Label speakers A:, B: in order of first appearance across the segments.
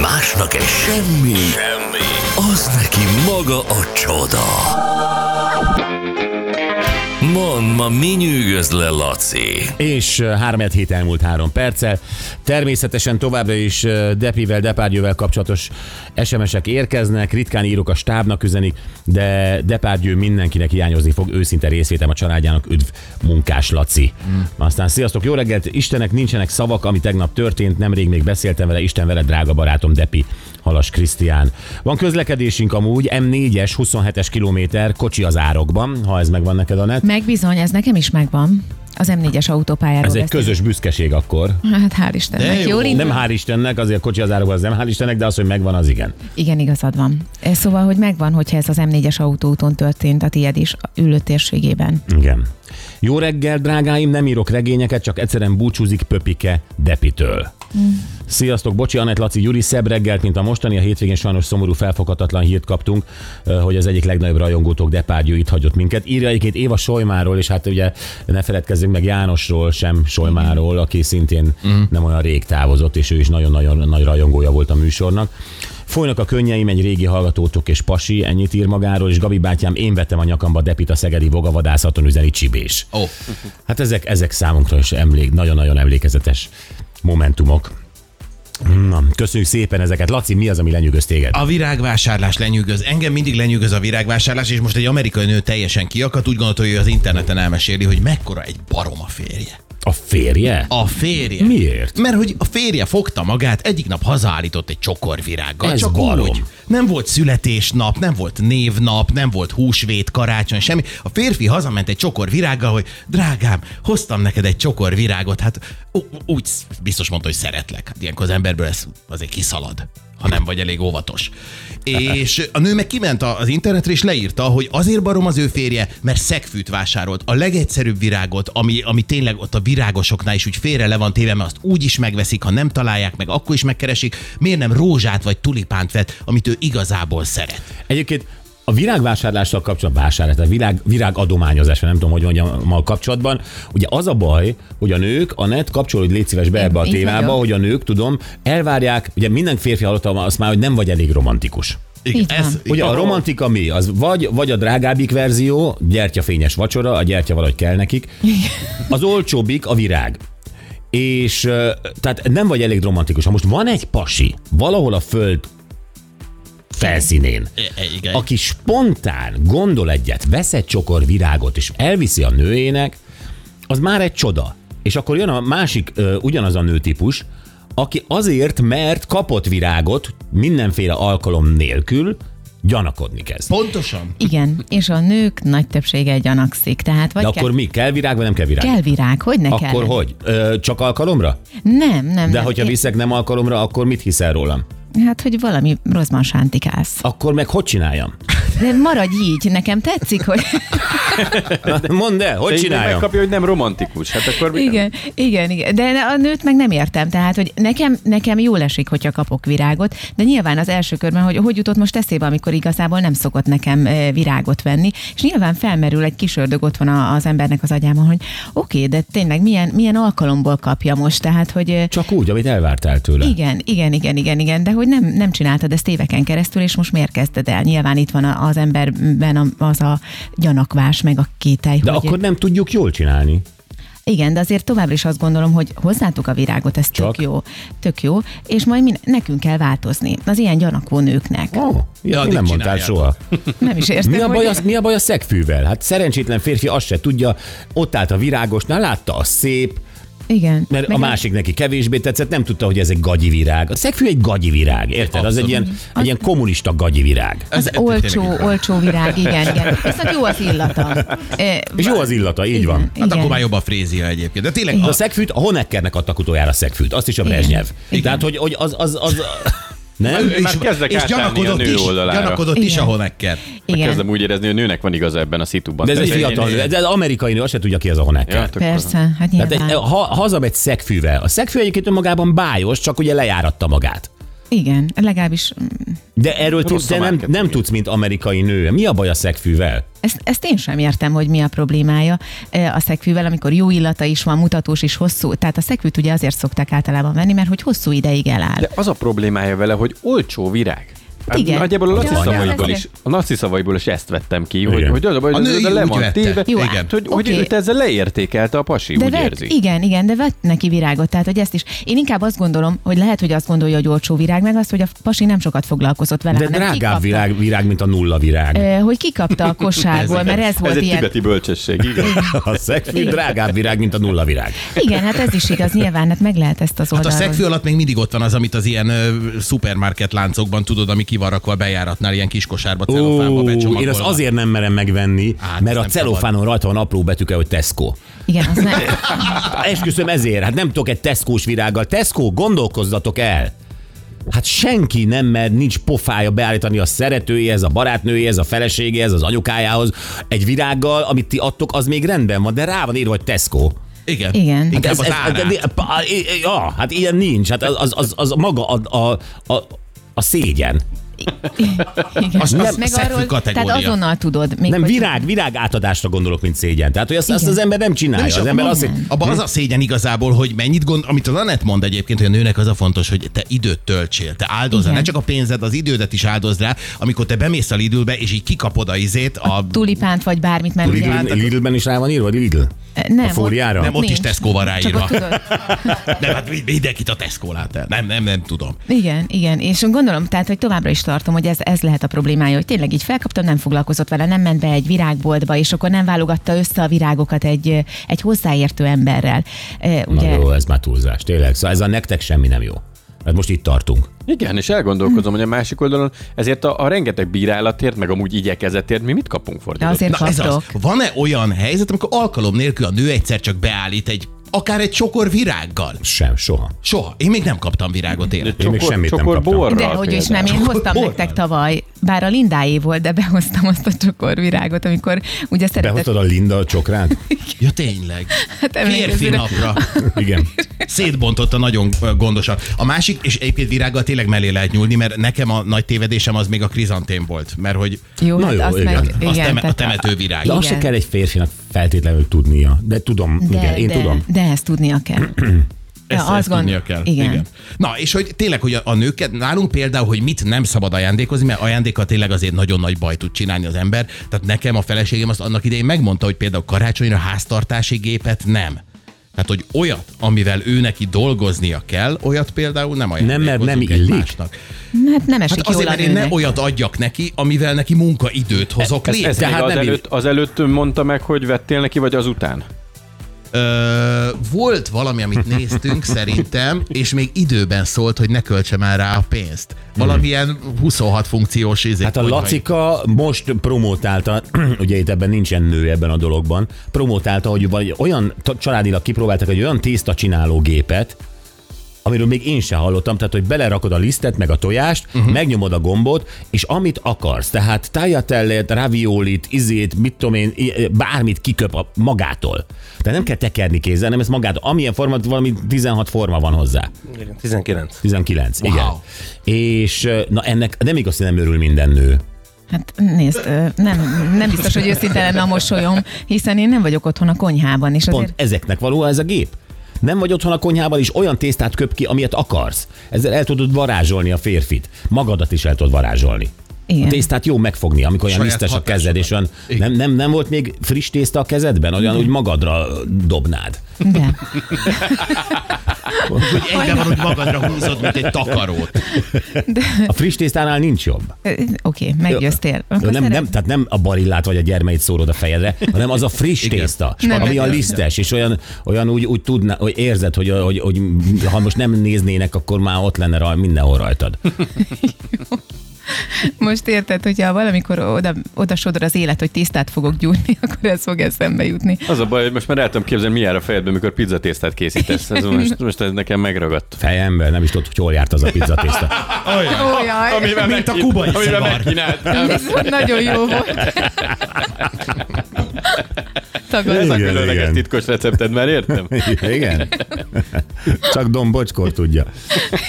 A: Másnak egy semmi, semmi, az neki maga a csoda. Mond, ma mi nyűgöz le, Laci?
B: És ö, három hét elmúlt három perccel. Természetesen továbbra is ö, Depivel, Depárgyővel kapcsolatos SMS-ek érkeznek, ritkán írok a stábnak üzenik, de Depárgyő mindenkinek hiányozni fog őszinte részvétem a családjának, üdv munkás Laci. Aztán sziasztok, jó reggelt, Istenek nincsenek szavak, ami tegnap történt, nemrég még beszéltem vele, Isten vele, drága barátom Depi. Halas Krisztián. Van közlekedésünk amúgy, M4-es, 27-es kilométer, kocsi az árokban, ha ez megvan neked a net.
C: Megbizony, ez nekem is megvan. Az M4-es autópályáról
B: Ez egy
C: beszélünk.
B: közös büszkeség akkor.
C: Hát hál' Istennek.
D: jó.
C: Jól indult.
B: Nem hál' Istennek, azért a kocsi az árokban az nem hál' Istennek, de az, hogy megvan, az igen.
C: Igen, igazad van. E, Szóval, hogy megvan, hogyha ez az M4-es autóúton történt, a tiéd is a ülő térségében.
B: Igen. Jó reggel, drágáim, nem írok regényeket, csak egyszerűen búcsúzik Pöpike Depitől. Sziasztok, bocsi, Anett Laci, Gyuri, szebb reggelt, mint a mostani. A hétvégén sajnos szomorú, felfoghatatlan hírt kaptunk, eh, hogy az egyik legnagyobb rajongótok Depárgyő itt hagyott minket. Írja egyébként Éva Solymáról, és hát ugye ne feledkezzünk meg Jánosról sem, Solymáról, aki szintén nem olyan rég távozott, és ő is nagyon-nagyon nagy rajongója volt a műsornak. Folynak a könnyeim, egy régi hallgatótok és pasi, ennyit ír magáról, és Gabi bátyám, én vettem a nyakamba Depit a Szegedi Vogavadászaton üzeni Csibés.
D: Ó, oh,
B: Hát ezek, ezek számunkra is emlék, nagyon-nagyon emlékezetes momentumok. Na, köszönjük szépen ezeket. Laci, mi az, ami lenyűgöz téged?
D: a virágvásárlás lenyűgöz. Engem mindig lenyűgöz a virágvásárlás, és most egy amerikai nő teljesen kiakadt, úgy gondolta, hogy ő az interneten elmeséli, hogy mekkora egy barom a férje.
B: A férje?
D: A férje.
B: Miért?
D: Mert hogy a férje fogta magát, egyik nap hazaállított egy csokorvirággal.
B: Ez
D: csak
B: barom.
D: úgy. Nem volt születésnap, nem volt névnap, nem volt húsvét, karácsony, semmi. A férfi hazament egy csokorvirággal, hogy drágám, hoztam neked egy csokorvirágot. Hát ú- úgy sz- biztos mondta, hogy szeretlek. Hát ilyenkor az emberből ez azért kiszalad ha nem vagy elég óvatos.
B: Hát
D: És a nő meg kiment a- az internetre, és leírta, hogy azért barom az ő férje, mert szegfűt vásárolt. A legegyszerűbb virágot, ami, ami tényleg ott a virágosoknál is úgy félre le van téve, mert azt úgy is megveszik, ha nem találják meg, akkor is megkeresik. Miért nem rózsát vagy tulipánt vett, amit ő igazából szeret?
B: Egyébként a virágvásárlással kapcsolatban vásárlás, tehát virág, virágadományozás, vagy nem tudom, hogy mondjam, mal kapcsolatban. Ugye az a baj, hogy a nők, a net kapcsolódj légy szíves be ebbe a
C: így
B: témába,
C: vagyok.
B: hogy a nők, tudom, elvárják, ugye minden férfi hallotta azt már, hogy nem vagy elég romantikus.
C: Így van.
B: Ugye a romantika mi? Az vagy, vagy a drágábbik verzió, gyertyafényes vacsora, a gyertya valahogy kell nekik, az olcsóbbik a virág. És ö, tehát nem vagy elég romantikus. Ha most van egy pasi valahol a föld felszínén,
D: I- I- E, igen.
B: aki spontán gondol egyet, vesz egy csokor virágot, és elviszi a nőjének, az már egy csoda. És akkor jön a másik, ö, ugyanaz a nőtípus, aki azért, mert kapott virágot mindenféle alkalom nélkül, gyanakodni kezd.
D: Pontosan.
C: Igen, és a nők nagy többsége gyanakszik. Tehát vagy
B: De akkor mi? Kell virág, vagy nem kell virág?
C: kell, kell virág, hogy ne kell.
B: Akkor hogy? Ö, csak alkalomra?
C: Nem, nem.
B: De
C: nem.
B: hogyha
C: Én-
B: viszek nem alkalomra, akkor mit hiszel rólam?
C: Hát, hogy valami rosszban sántikálsz.
B: Akkor meg hogy csináljam?
C: De maradj így, nekem tetszik, hogy...
B: Mondd el, hogy
E: De így még
B: csináljam?
E: Megkapja, hogy nem romantikus. Hát akkor mi-
C: Igen, igen, igen. De a nőt meg nem értem. Tehát, hogy nekem, nekem jól esik, hogyha kapok virágot, de nyilván az első körben, hogy hogy jutott most eszébe, amikor igazából nem szokott nekem eh, virágot venni, és nyilván felmerül egy kis ördög ott van a- az embernek az agyában, hogy oké, okay, de tényleg milyen, milyen alkalomból kapja most, tehát, hogy eh,
B: Csak úgy, amit elvártál tőle.
C: igen, igen, igen, igen, igen, de hogy nem, nem csináltad ezt éveken keresztül, és most miért kezdted el? Nyilván itt van a- az emberben a- az a gyanakvás, meg a kételj.
B: De
C: hogy,
B: akkor nem tudjuk jól csinálni.
C: igen, de azért továbbra is azt gondolom, hogy hozzátok a virágot, ez
B: Csak?
C: tök jó. Tök jó, és majd min- nekünk kell változni, az ilyen gyanakvó nőknek.
B: Ó, ja,
D: addig
B: nem mondtál
D: csináljátok.
B: soha.
C: Nem is értem,
B: Mi a,
C: hogy-
B: baj, az, mi a baj a szegfűvel? Hát szerencsétlen férfi azt se tudja, ott állt a virágosnál, látta a szép,
C: Igen.
B: mert
C: Meg
B: a másik neki kevésbé tetszett, nem tudta, hogy ez egy gagyi virág. A szegfű egy gagyi virág, érted? Az egy ilyen, egy ilyen kommunista gagyi virág.
C: Az
D: Ez- ez tényleg
C: olcsó,
D: így van.
C: olcsó virág, igen, igen. Viszont jó az illata. E,
B: És jó az illata, így van.
D: Hát akkor már jobb a frézia egyébként. De tényleg,
B: De a
D: a,
B: szegfűt a Honeckernek adtak utoljára a szegfűt, azt is a Brezsnyev.
C: Igen.
B: Tehát, hogy, hogy az, az, az... Nem?
D: és,
E: Már kezdek
D: és
E: átállni a
D: gyanakodott
E: nő
D: is,
E: oldalára.
D: gyanakodott is
C: Igen.
D: a honekker.
C: igen,
E: Kezdem úgy érezni, hogy a nőnek van igaza ebben a szituban.
B: De ez egy
E: Tehát
B: fiatal,
D: én-
B: de
D: én-
B: ez amerikai nő, azt se tudja ki ez a Honecker.
E: Ja, tök-
C: persze, hát
B: Tehát
C: nyilván.
B: egy, ha, hazamegy szegfűvel. A szegfű egyébként önmagában bájos, csak ugye lejáratta magát.
C: Igen, legalábbis mm,
B: De erről te,
E: Rossz a
B: te nem,
E: marketing.
B: nem tudsz, mint amerikai nő. Mi a baj a szegfűvel?
C: ezt, ezt én sem értem, hogy mi a problémája e, a szekfűvel, amikor jó illata is van, mutatós is hosszú. Tehát a szekfűt ugye azért szokták általában venni, mert hogy hosszú ideig eláll.
E: De az a problémája vele, hogy olcsó virág. Hát
C: Igen.
E: Nagyjából a
C: Ja,
E: Laci,
B: van.
E: szavaiból is, a Laci szavaiból is ezt vettem ki, hogy,
B: Igen.
E: hogy az a baj,
D: A
E: hogy ez
D: női
E: le
D: úgy
E: van
D: vette.
E: téve,
C: Jó,
E: hogy, hogy
C: oké.
E: őt ezzel leértékelte a pasi, úgy
C: vett-
E: érzi.
C: Igen, igen, de vett neki virágot, tehát hogy ezt is. Én inkább azt gondolom, hogy lehet, hogy azt gondolja, hogy olcsó virág, meg azt, hogy a pasi nem sokat foglalkozott vele.
B: De
C: hanem
B: drágább
C: kikapta.
B: virág, virág, mint a nulla virág.
C: Ö, Hogy kikapta a kosárból, mert ez
E: Ez
C: volt
E: egy
C: ilyen.
E: tibeti bölcsesség, igen.
B: A szegfű drágább virág, mint a nulla virág.
C: Igen, hát ez is igaz, nyilván, hát meg lehet ezt az
D: Hát a
C: oldalról.
D: szegfő alatt még mindig ott van az, amit az ilyen ö, szupermarket láncokban tudod, ami ki van rakva a bejáratnál, ilyen kis kosárba, celofánba
B: Ó,
D: becsomagolva.
B: én azt azért nem merem megvenni,
D: Á,
B: mert
D: ez
B: a
D: nem
B: celofánon rajta van apró betűke, hogy Tesco.
C: Igen, az nem.
B: Esküszöm ezért, hát nem tudok egy Tesco-s virággal. Tesco, gondolkozzatok el! Hát senki nem, mert nincs pofája beállítani a szeretőjéhez, a barátnőjéhez, a feleségéhez, az anyukájához egy virággal, amit ti adtok, az még rendben van, de rá van írva, hogy Tesco.
D: Igen.
C: Igen.
D: Inkább
B: Hát ez,
D: az árát.
B: ez, ez, ja, hát ilyen nincs, hát az, az, az, az maga a, a, a, a szégyen.
C: Igen.
D: Az- az
C: Meg
D: szegfű kategória.
C: tehát azonnal tudod. Még
B: Nem,
C: hogy-
B: virág, virág átadásra gondolok, mint szégyen. Tehát, hogy azt, azt
C: Igen.
B: az ember nem csinálja.
D: Nem is
B: az
D: a-
B: ember azt,
C: nem.
D: Abban az a szégyen igazából, hogy mennyit gond, amit az Anett mond egyébként, hogy a nőnek az a fontos, hogy te időt töltsél, te áldozz rá,
C: Igen.
D: ne csak a pénzed, az idődet is áldozd rá, amikor te bemész a Lidlbe, és így kikapod a izét,
C: Hát,
D: a...
C: tulipánt vagy bármit, mert ugye,
B: Lidl, Lidlben is rá van írva, Lidl.
C: nem,
B: a fóliára?
D: Nem, ott is
C: nincs.
D: Tesco van
C: Csak
D: ráírva.
C: ott tudod.
D: Nem, hát mi- mindenkit a Tesco lát el. Nem, nem, nem tudom.
C: Igen, igen, és gondolom, tehát, hogy továbbra is tartom, hogy ez, ez lehet a problémája, hogy tényleg így felkaptam, nem foglalkozott vele, nem ment be egy virágboltba, és akkor nem válogatta össze a virágokat egy, egy hozzáértő emberrel. E,
B: Na
C: Ugye,
B: jó, ez már túlzás, tényleg. Szóval ez a nektek semmi nem jó. Hát most itt tartunk.
E: Igen, és elgondolkozom, hogy a másik oldalon ezért a, a rengeteg bírálatért, meg amúgy igyekezetért mi mit kapunk
C: de
E: fordítani?
C: azért
D: Na ez az.
C: kaptok.
D: Van-e olyan helyzet, amikor alkalom nélkül a nő egyszer csak beállít egy akár egy sokor virággal?
B: Sem, soha.
D: Soha. Én még nem kaptam virágot életemben.
B: Én még semmit nem kaptam.
E: borral
C: De hogy is nem,
E: például.
C: én hoztam
D: Hol
C: nektek
D: van?
C: tavaly, bár a Lindáé volt, de behoztam azt a csokorvirágot, amikor ugye szeretett,
B: Behoztad a Linda a csokrát?
D: Ja tényleg.
C: Hát
D: Férfi
C: emlékezőre.
D: napra.
B: Igen.
D: Szétbontotta nagyon ö, gondosan. A másik, és egyébként virággal tényleg mellé lehet nyúlni, mert nekem a nagy tévedésem az még a krizantém volt, mert hogy
C: jó,
B: Na
C: hát
B: jó,
C: azt
B: igen.
C: meg,
D: az
C: igen,
D: teme- a
C: tehát
D: temetővirág.
B: De azt se
C: Igen.
B: kell egy férfinak feltétlenül tudnia. De tudom,
C: De,
B: igen, én
C: de,
B: tudom.
C: De ezt tudnia kell.
D: Ezt,
C: Ja,
D: ezt
C: azt gond-
D: tudnia kell.
C: Igen.
D: Na, és hogy tényleg, hogy a, a nőket, nálunk például, hogy mit nem szabad ajándékozni, mert ajándékkal tényleg azért nagyon nagy baj tud csinálni az ember. Tehát nekem a feleségem azt annak idején megmondta, hogy például karácsonyra háztartási gépet nem. Tehát, hogy olyat, amivel ő neki dolgoznia kell, olyat például nem ajándékozunk
B: nem
D: egy
B: illik.
D: másnak.
C: Hát nem esik
D: Hát
C: jól
D: azért,
C: a
D: mert én
C: nőnek.
D: nem olyat adjak neki, amivel neki munkaidőt hozok
E: Ez,
D: létre.
E: ez még
B: Tehát
E: az,
B: hát nem így.
E: előtt, az előtt mondta meg, hogy vettél neki, vagy azután?
D: Ö, volt valami, amit néztünk szerintem, és még időben szólt, hogy ne költsem el rá a pénzt. Valamilyen 26 funkciós izé.
B: Hát a
D: konyhai-
B: Lacika most promotálta, ugye itt ebben nincsen nő ebben a dologban, promotálta, hogy vagy olyan t- családilag kipróbáltak egy olyan tészta csináló gépet, amiről még én sem hallottam, tehát hogy belerakod a lisztet, meg a tojást, uh-huh. megnyomod a gombot, és amit akarsz, tehát tájatellet, raviolit, izét, mit tudom én, i- bármit kiköp a magától. Tehát nem kell tekerni kézzel, nem ez magát. Amilyen forma, valami 16 forma van hozzá.
F: 19.
B: 19, wow.
D: Wow.
B: igen. És na ennek nem igaz, hogy nem örül minden nő.
C: Hát nézd, ö, nem, nem biztos, hogy őszinte lenne a mosolyom, hiszen én nem vagyok otthon a konyhában, és
B: Pont
C: azért...
B: ezeknek való ez a gép. Nem vagy otthon a konyhában, és olyan tésztát köp ki, amilyet akarsz. Ezzel el tudod varázsolni a férfit. Magadat is el tudod varázsolni. A
C: Igen.
B: tésztát jó megfogni, amikor olyan
D: Saját
B: lisztes a
D: hatásodat.
B: kezed, és olyan nem, nem, nem volt még friss tészta a kezedben, olyan úgy magadra dobnád.
C: De.
D: Hogy egyben van, hogy magadra húzod, mint egy takarót.
B: A friss tésztánál nincs jobb.
C: Ö, Oké, meggyőztél. Akkor
B: Jó, nem,
C: szeret-
B: nem, tehát nem a barillát vagy a gyermeit szórod a fejedre, hanem az a friss tészta,
C: Nem,
B: ami a
C: nem.
B: lisztes, és olyan, olyan úgy, úgy tudná, hogy érzed, hogy, hogy, hogy, ha most nem néznének, akkor már ott lenne raj, mindenhol rajtad.
C: Most érted, hogyha valamikor oda, oda sodor az élet, hogy tisztát fogok gyúrni, akkor ez fog eszembe jutni.
E: Az a baj, hogy most már el tudom képzelni, mi jár a fejedben, mikor pizzatésztát készítesz. Ez most, most ez nekem megragadt.
B: Fejemben nem is tudod, hogy hol járt az a pizzatészta.
C: Ó, jaj,
D: Mint a kubai
E: Amivel
D: szivar.
E: megkínált.
C: viszont nagyon jó volt. családtagod.
E: Ez a
B: Igen,
E: különleges
B: igen.
E: titkos recepted, már értem.
B: Igen? Csak dombocskor tudja.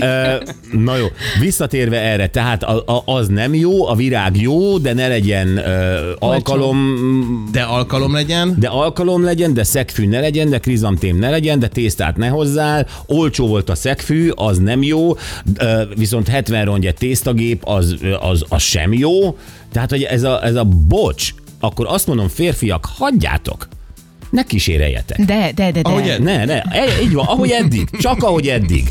B: Ö, Na jó, visszatérve erre, tehát a, a, az nem jó, a virág jó, de ne legyen ö, alkalom,
D: De alkalom legyen.
B: de alkalom legyen, de szegfű ne legyen, de krizantém ne legyen, de tésztát ne hozzál, olcsó volt a szegfű, az nem jó, ö, viszont 70 rongyet tésztagép, az, az, az sem jó. Tehát, hogy ez a, ez a bocs, akkor azt mondom, férfiak, hagyjátok, ne kíséreljetek.
C: De, de, de, de.
D: Ahogy ez-
B: Ne, ne, e- így van, ahogy eddig, csak ahogy eddig.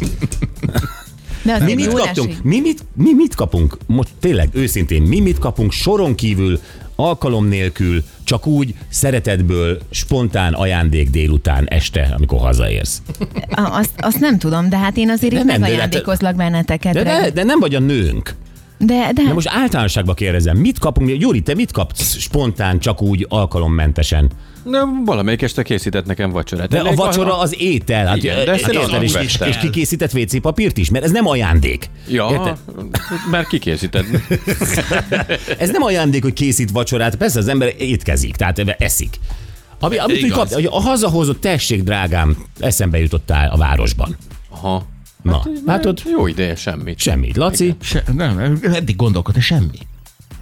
C: de az
B: Mi mit kaptunk? Mi mit, mi mit kapunk? Most tényleg, őszintén, mi mit kapunk soron kívül, alkalom nélkül, csak úgy, szeretetből, spontán ajándék délután, este, amikor hazaérsz.
C: A- Azt, azt nem tudom, de hát én azért
B: De
C: itt
B: nem, de
C: megajándékozlak benneteket.
B: De, de, de nem vagy a nőnk.
C: de, de,
B: De most általánosságban kérdezem, mit kapunk? Gyuri, te mit kapsz spontán, csak úgy, alkalommentesen?
E: Na, valamelyik este készített nekem vacsorát.
B: De a
E: Ennek
B: vacsora az étel. Hát,
E: Igen, de ezt én
B: érted,
E: annak
B: és, és,
E: vettem.
B: és kikészített WC papírt is, mert ez nem ajándék.
E: Ja,
B: Érted?
E: már kikészített.
B: Ez nem ajándék, hogy készít vacsorát, persze az ember étkezik, tehát ebbe eszik. Ami, amit úgy
D: Igaz.
B: kapta, hogy a hazahozott tessék, drágám, eszembe jutottál a városban.
E: Aha.
B: Na, Hát látod?
E: Hát, Jó ideje, semmit.
B: Semmi. Laci?
D: Se, nem, eddig gondolkodtam, semmi.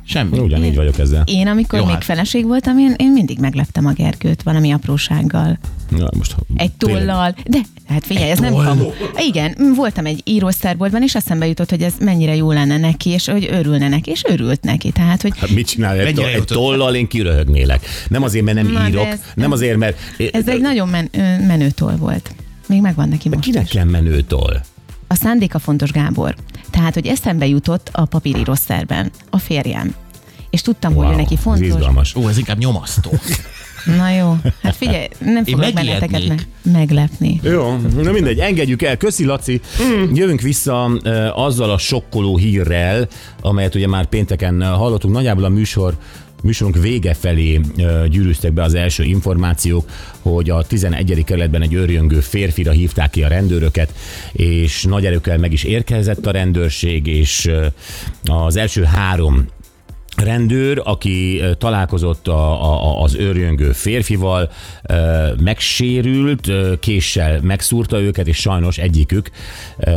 D: Semmi.
B: Ugyanígy vagyok ezzel.
C: Én, amikor
D: Jó,
C: Jó, még hát.
D: hát.
C: feleség voltam, én, én mindig megleptem a Gergőt valami aprósággal.
B: Na, most,
C: Egy
B: tényleg.
C: tollal. De, hát figyelj, ez nem kamu. Igen, m, voltam egy írószerboltban, és eszembe jutott, hogy ez mennyire jó lenne neki, és hogy örülne neki, és örült neki. Tehát, hogy
B: Hát mit csinál egy,
D: Mennyire
B: to- egy
D: jutott?
B: tollal, én kiröhögnélek. Nem azért, mert nem
C: Na, de
B: írok,
C: ez-
B: nem azért, mert...
C: ez egy nagyon men, ö, menő toll volt. Még megvan neki most
B: Kinek
C: is.
B: kell menő toll?
C: A szándéka fontos, Gábor. Tehát, hogy eszembe jutott a papírírószerben a férjem. És tudtam, hogy ő neki
B: ez
C: fontos.
B: izgalmas.
D: Ó, ez inkább nyomasztó.
C: Na jó, hát figyelj, nem fogok
D: megijednék.
C: benneteket meg, meglepni.
B: Jó, na mindegy, engedjük el. Köszi, Laci. Jövünk vissza ö, azzal a sokkoló hírrel, amelyet ugye már pénteken ö, hallottunk. Nagyjából a műsor műsorunk vége felé ö, gyűrűztek be az első információk, hogy a 11. kerületben egy őrjöngő férfira hívták ki a rendőröket, és nagy erőkkel meg is érkezett a rendőrség, és ö, az első három rendőr, aki ö, találkozott a, a, a- az őrjöngő férfival, ö, megsérült, ö, késsel megszúrta őket, és sajnos egyikük ö,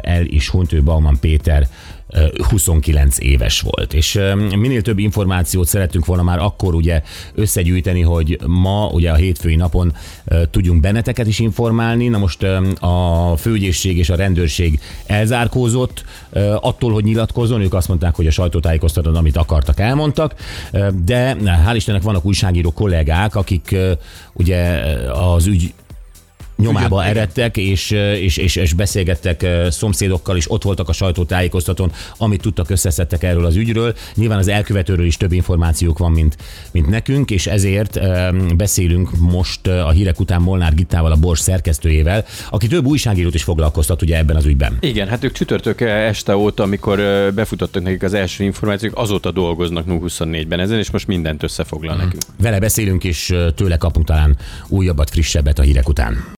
B: el is hunyt, ő Bauman Péter ö, 29 éves volt. És ö, minél több információt szerettünk volna már akkor ugye összegyűjteni, hogy ma, ugye a hétfői napon ö, tudjunk benneteket is informálni. Na most ö, a főügyészség és a rendőrség elzárkózott ö, attól, hogy nyilatkozzon. Ők azt mondták, hogy a sajtótájékoztatón, amit akartak, elmondtak. Ö, De hál' Istennek vannak újságíró kollégák, akik ö, ugye az ügy nyomába
D: Ugyan-
B: eredtek, és, és, és, és beszélgettek ö, szomszédokkal, és ott voltak a sajtótájékoztatón, amit tudtak, összeszedtek erről az ügyről. Nyilván az elkövetőről is több információk van, mint, mint nekünk, és ezért em, beszélünk most ö, a hírek után Molnár Gittával, a Bors szerkesztőjével, aki több újságírót is foglalkoztat ugye ebben az ügyben.
E: Igen, hát ők csütörtök este óta, amikor ö, befutottak nekik az első információk, azóta dolgoznak 24-ben ezen, és most
B: Mhm.
E: mindent összefoglal nekünk.
B: Vele beszélünk, és ö, tőle kapunk talán újabbat, frissebbet a hírek után.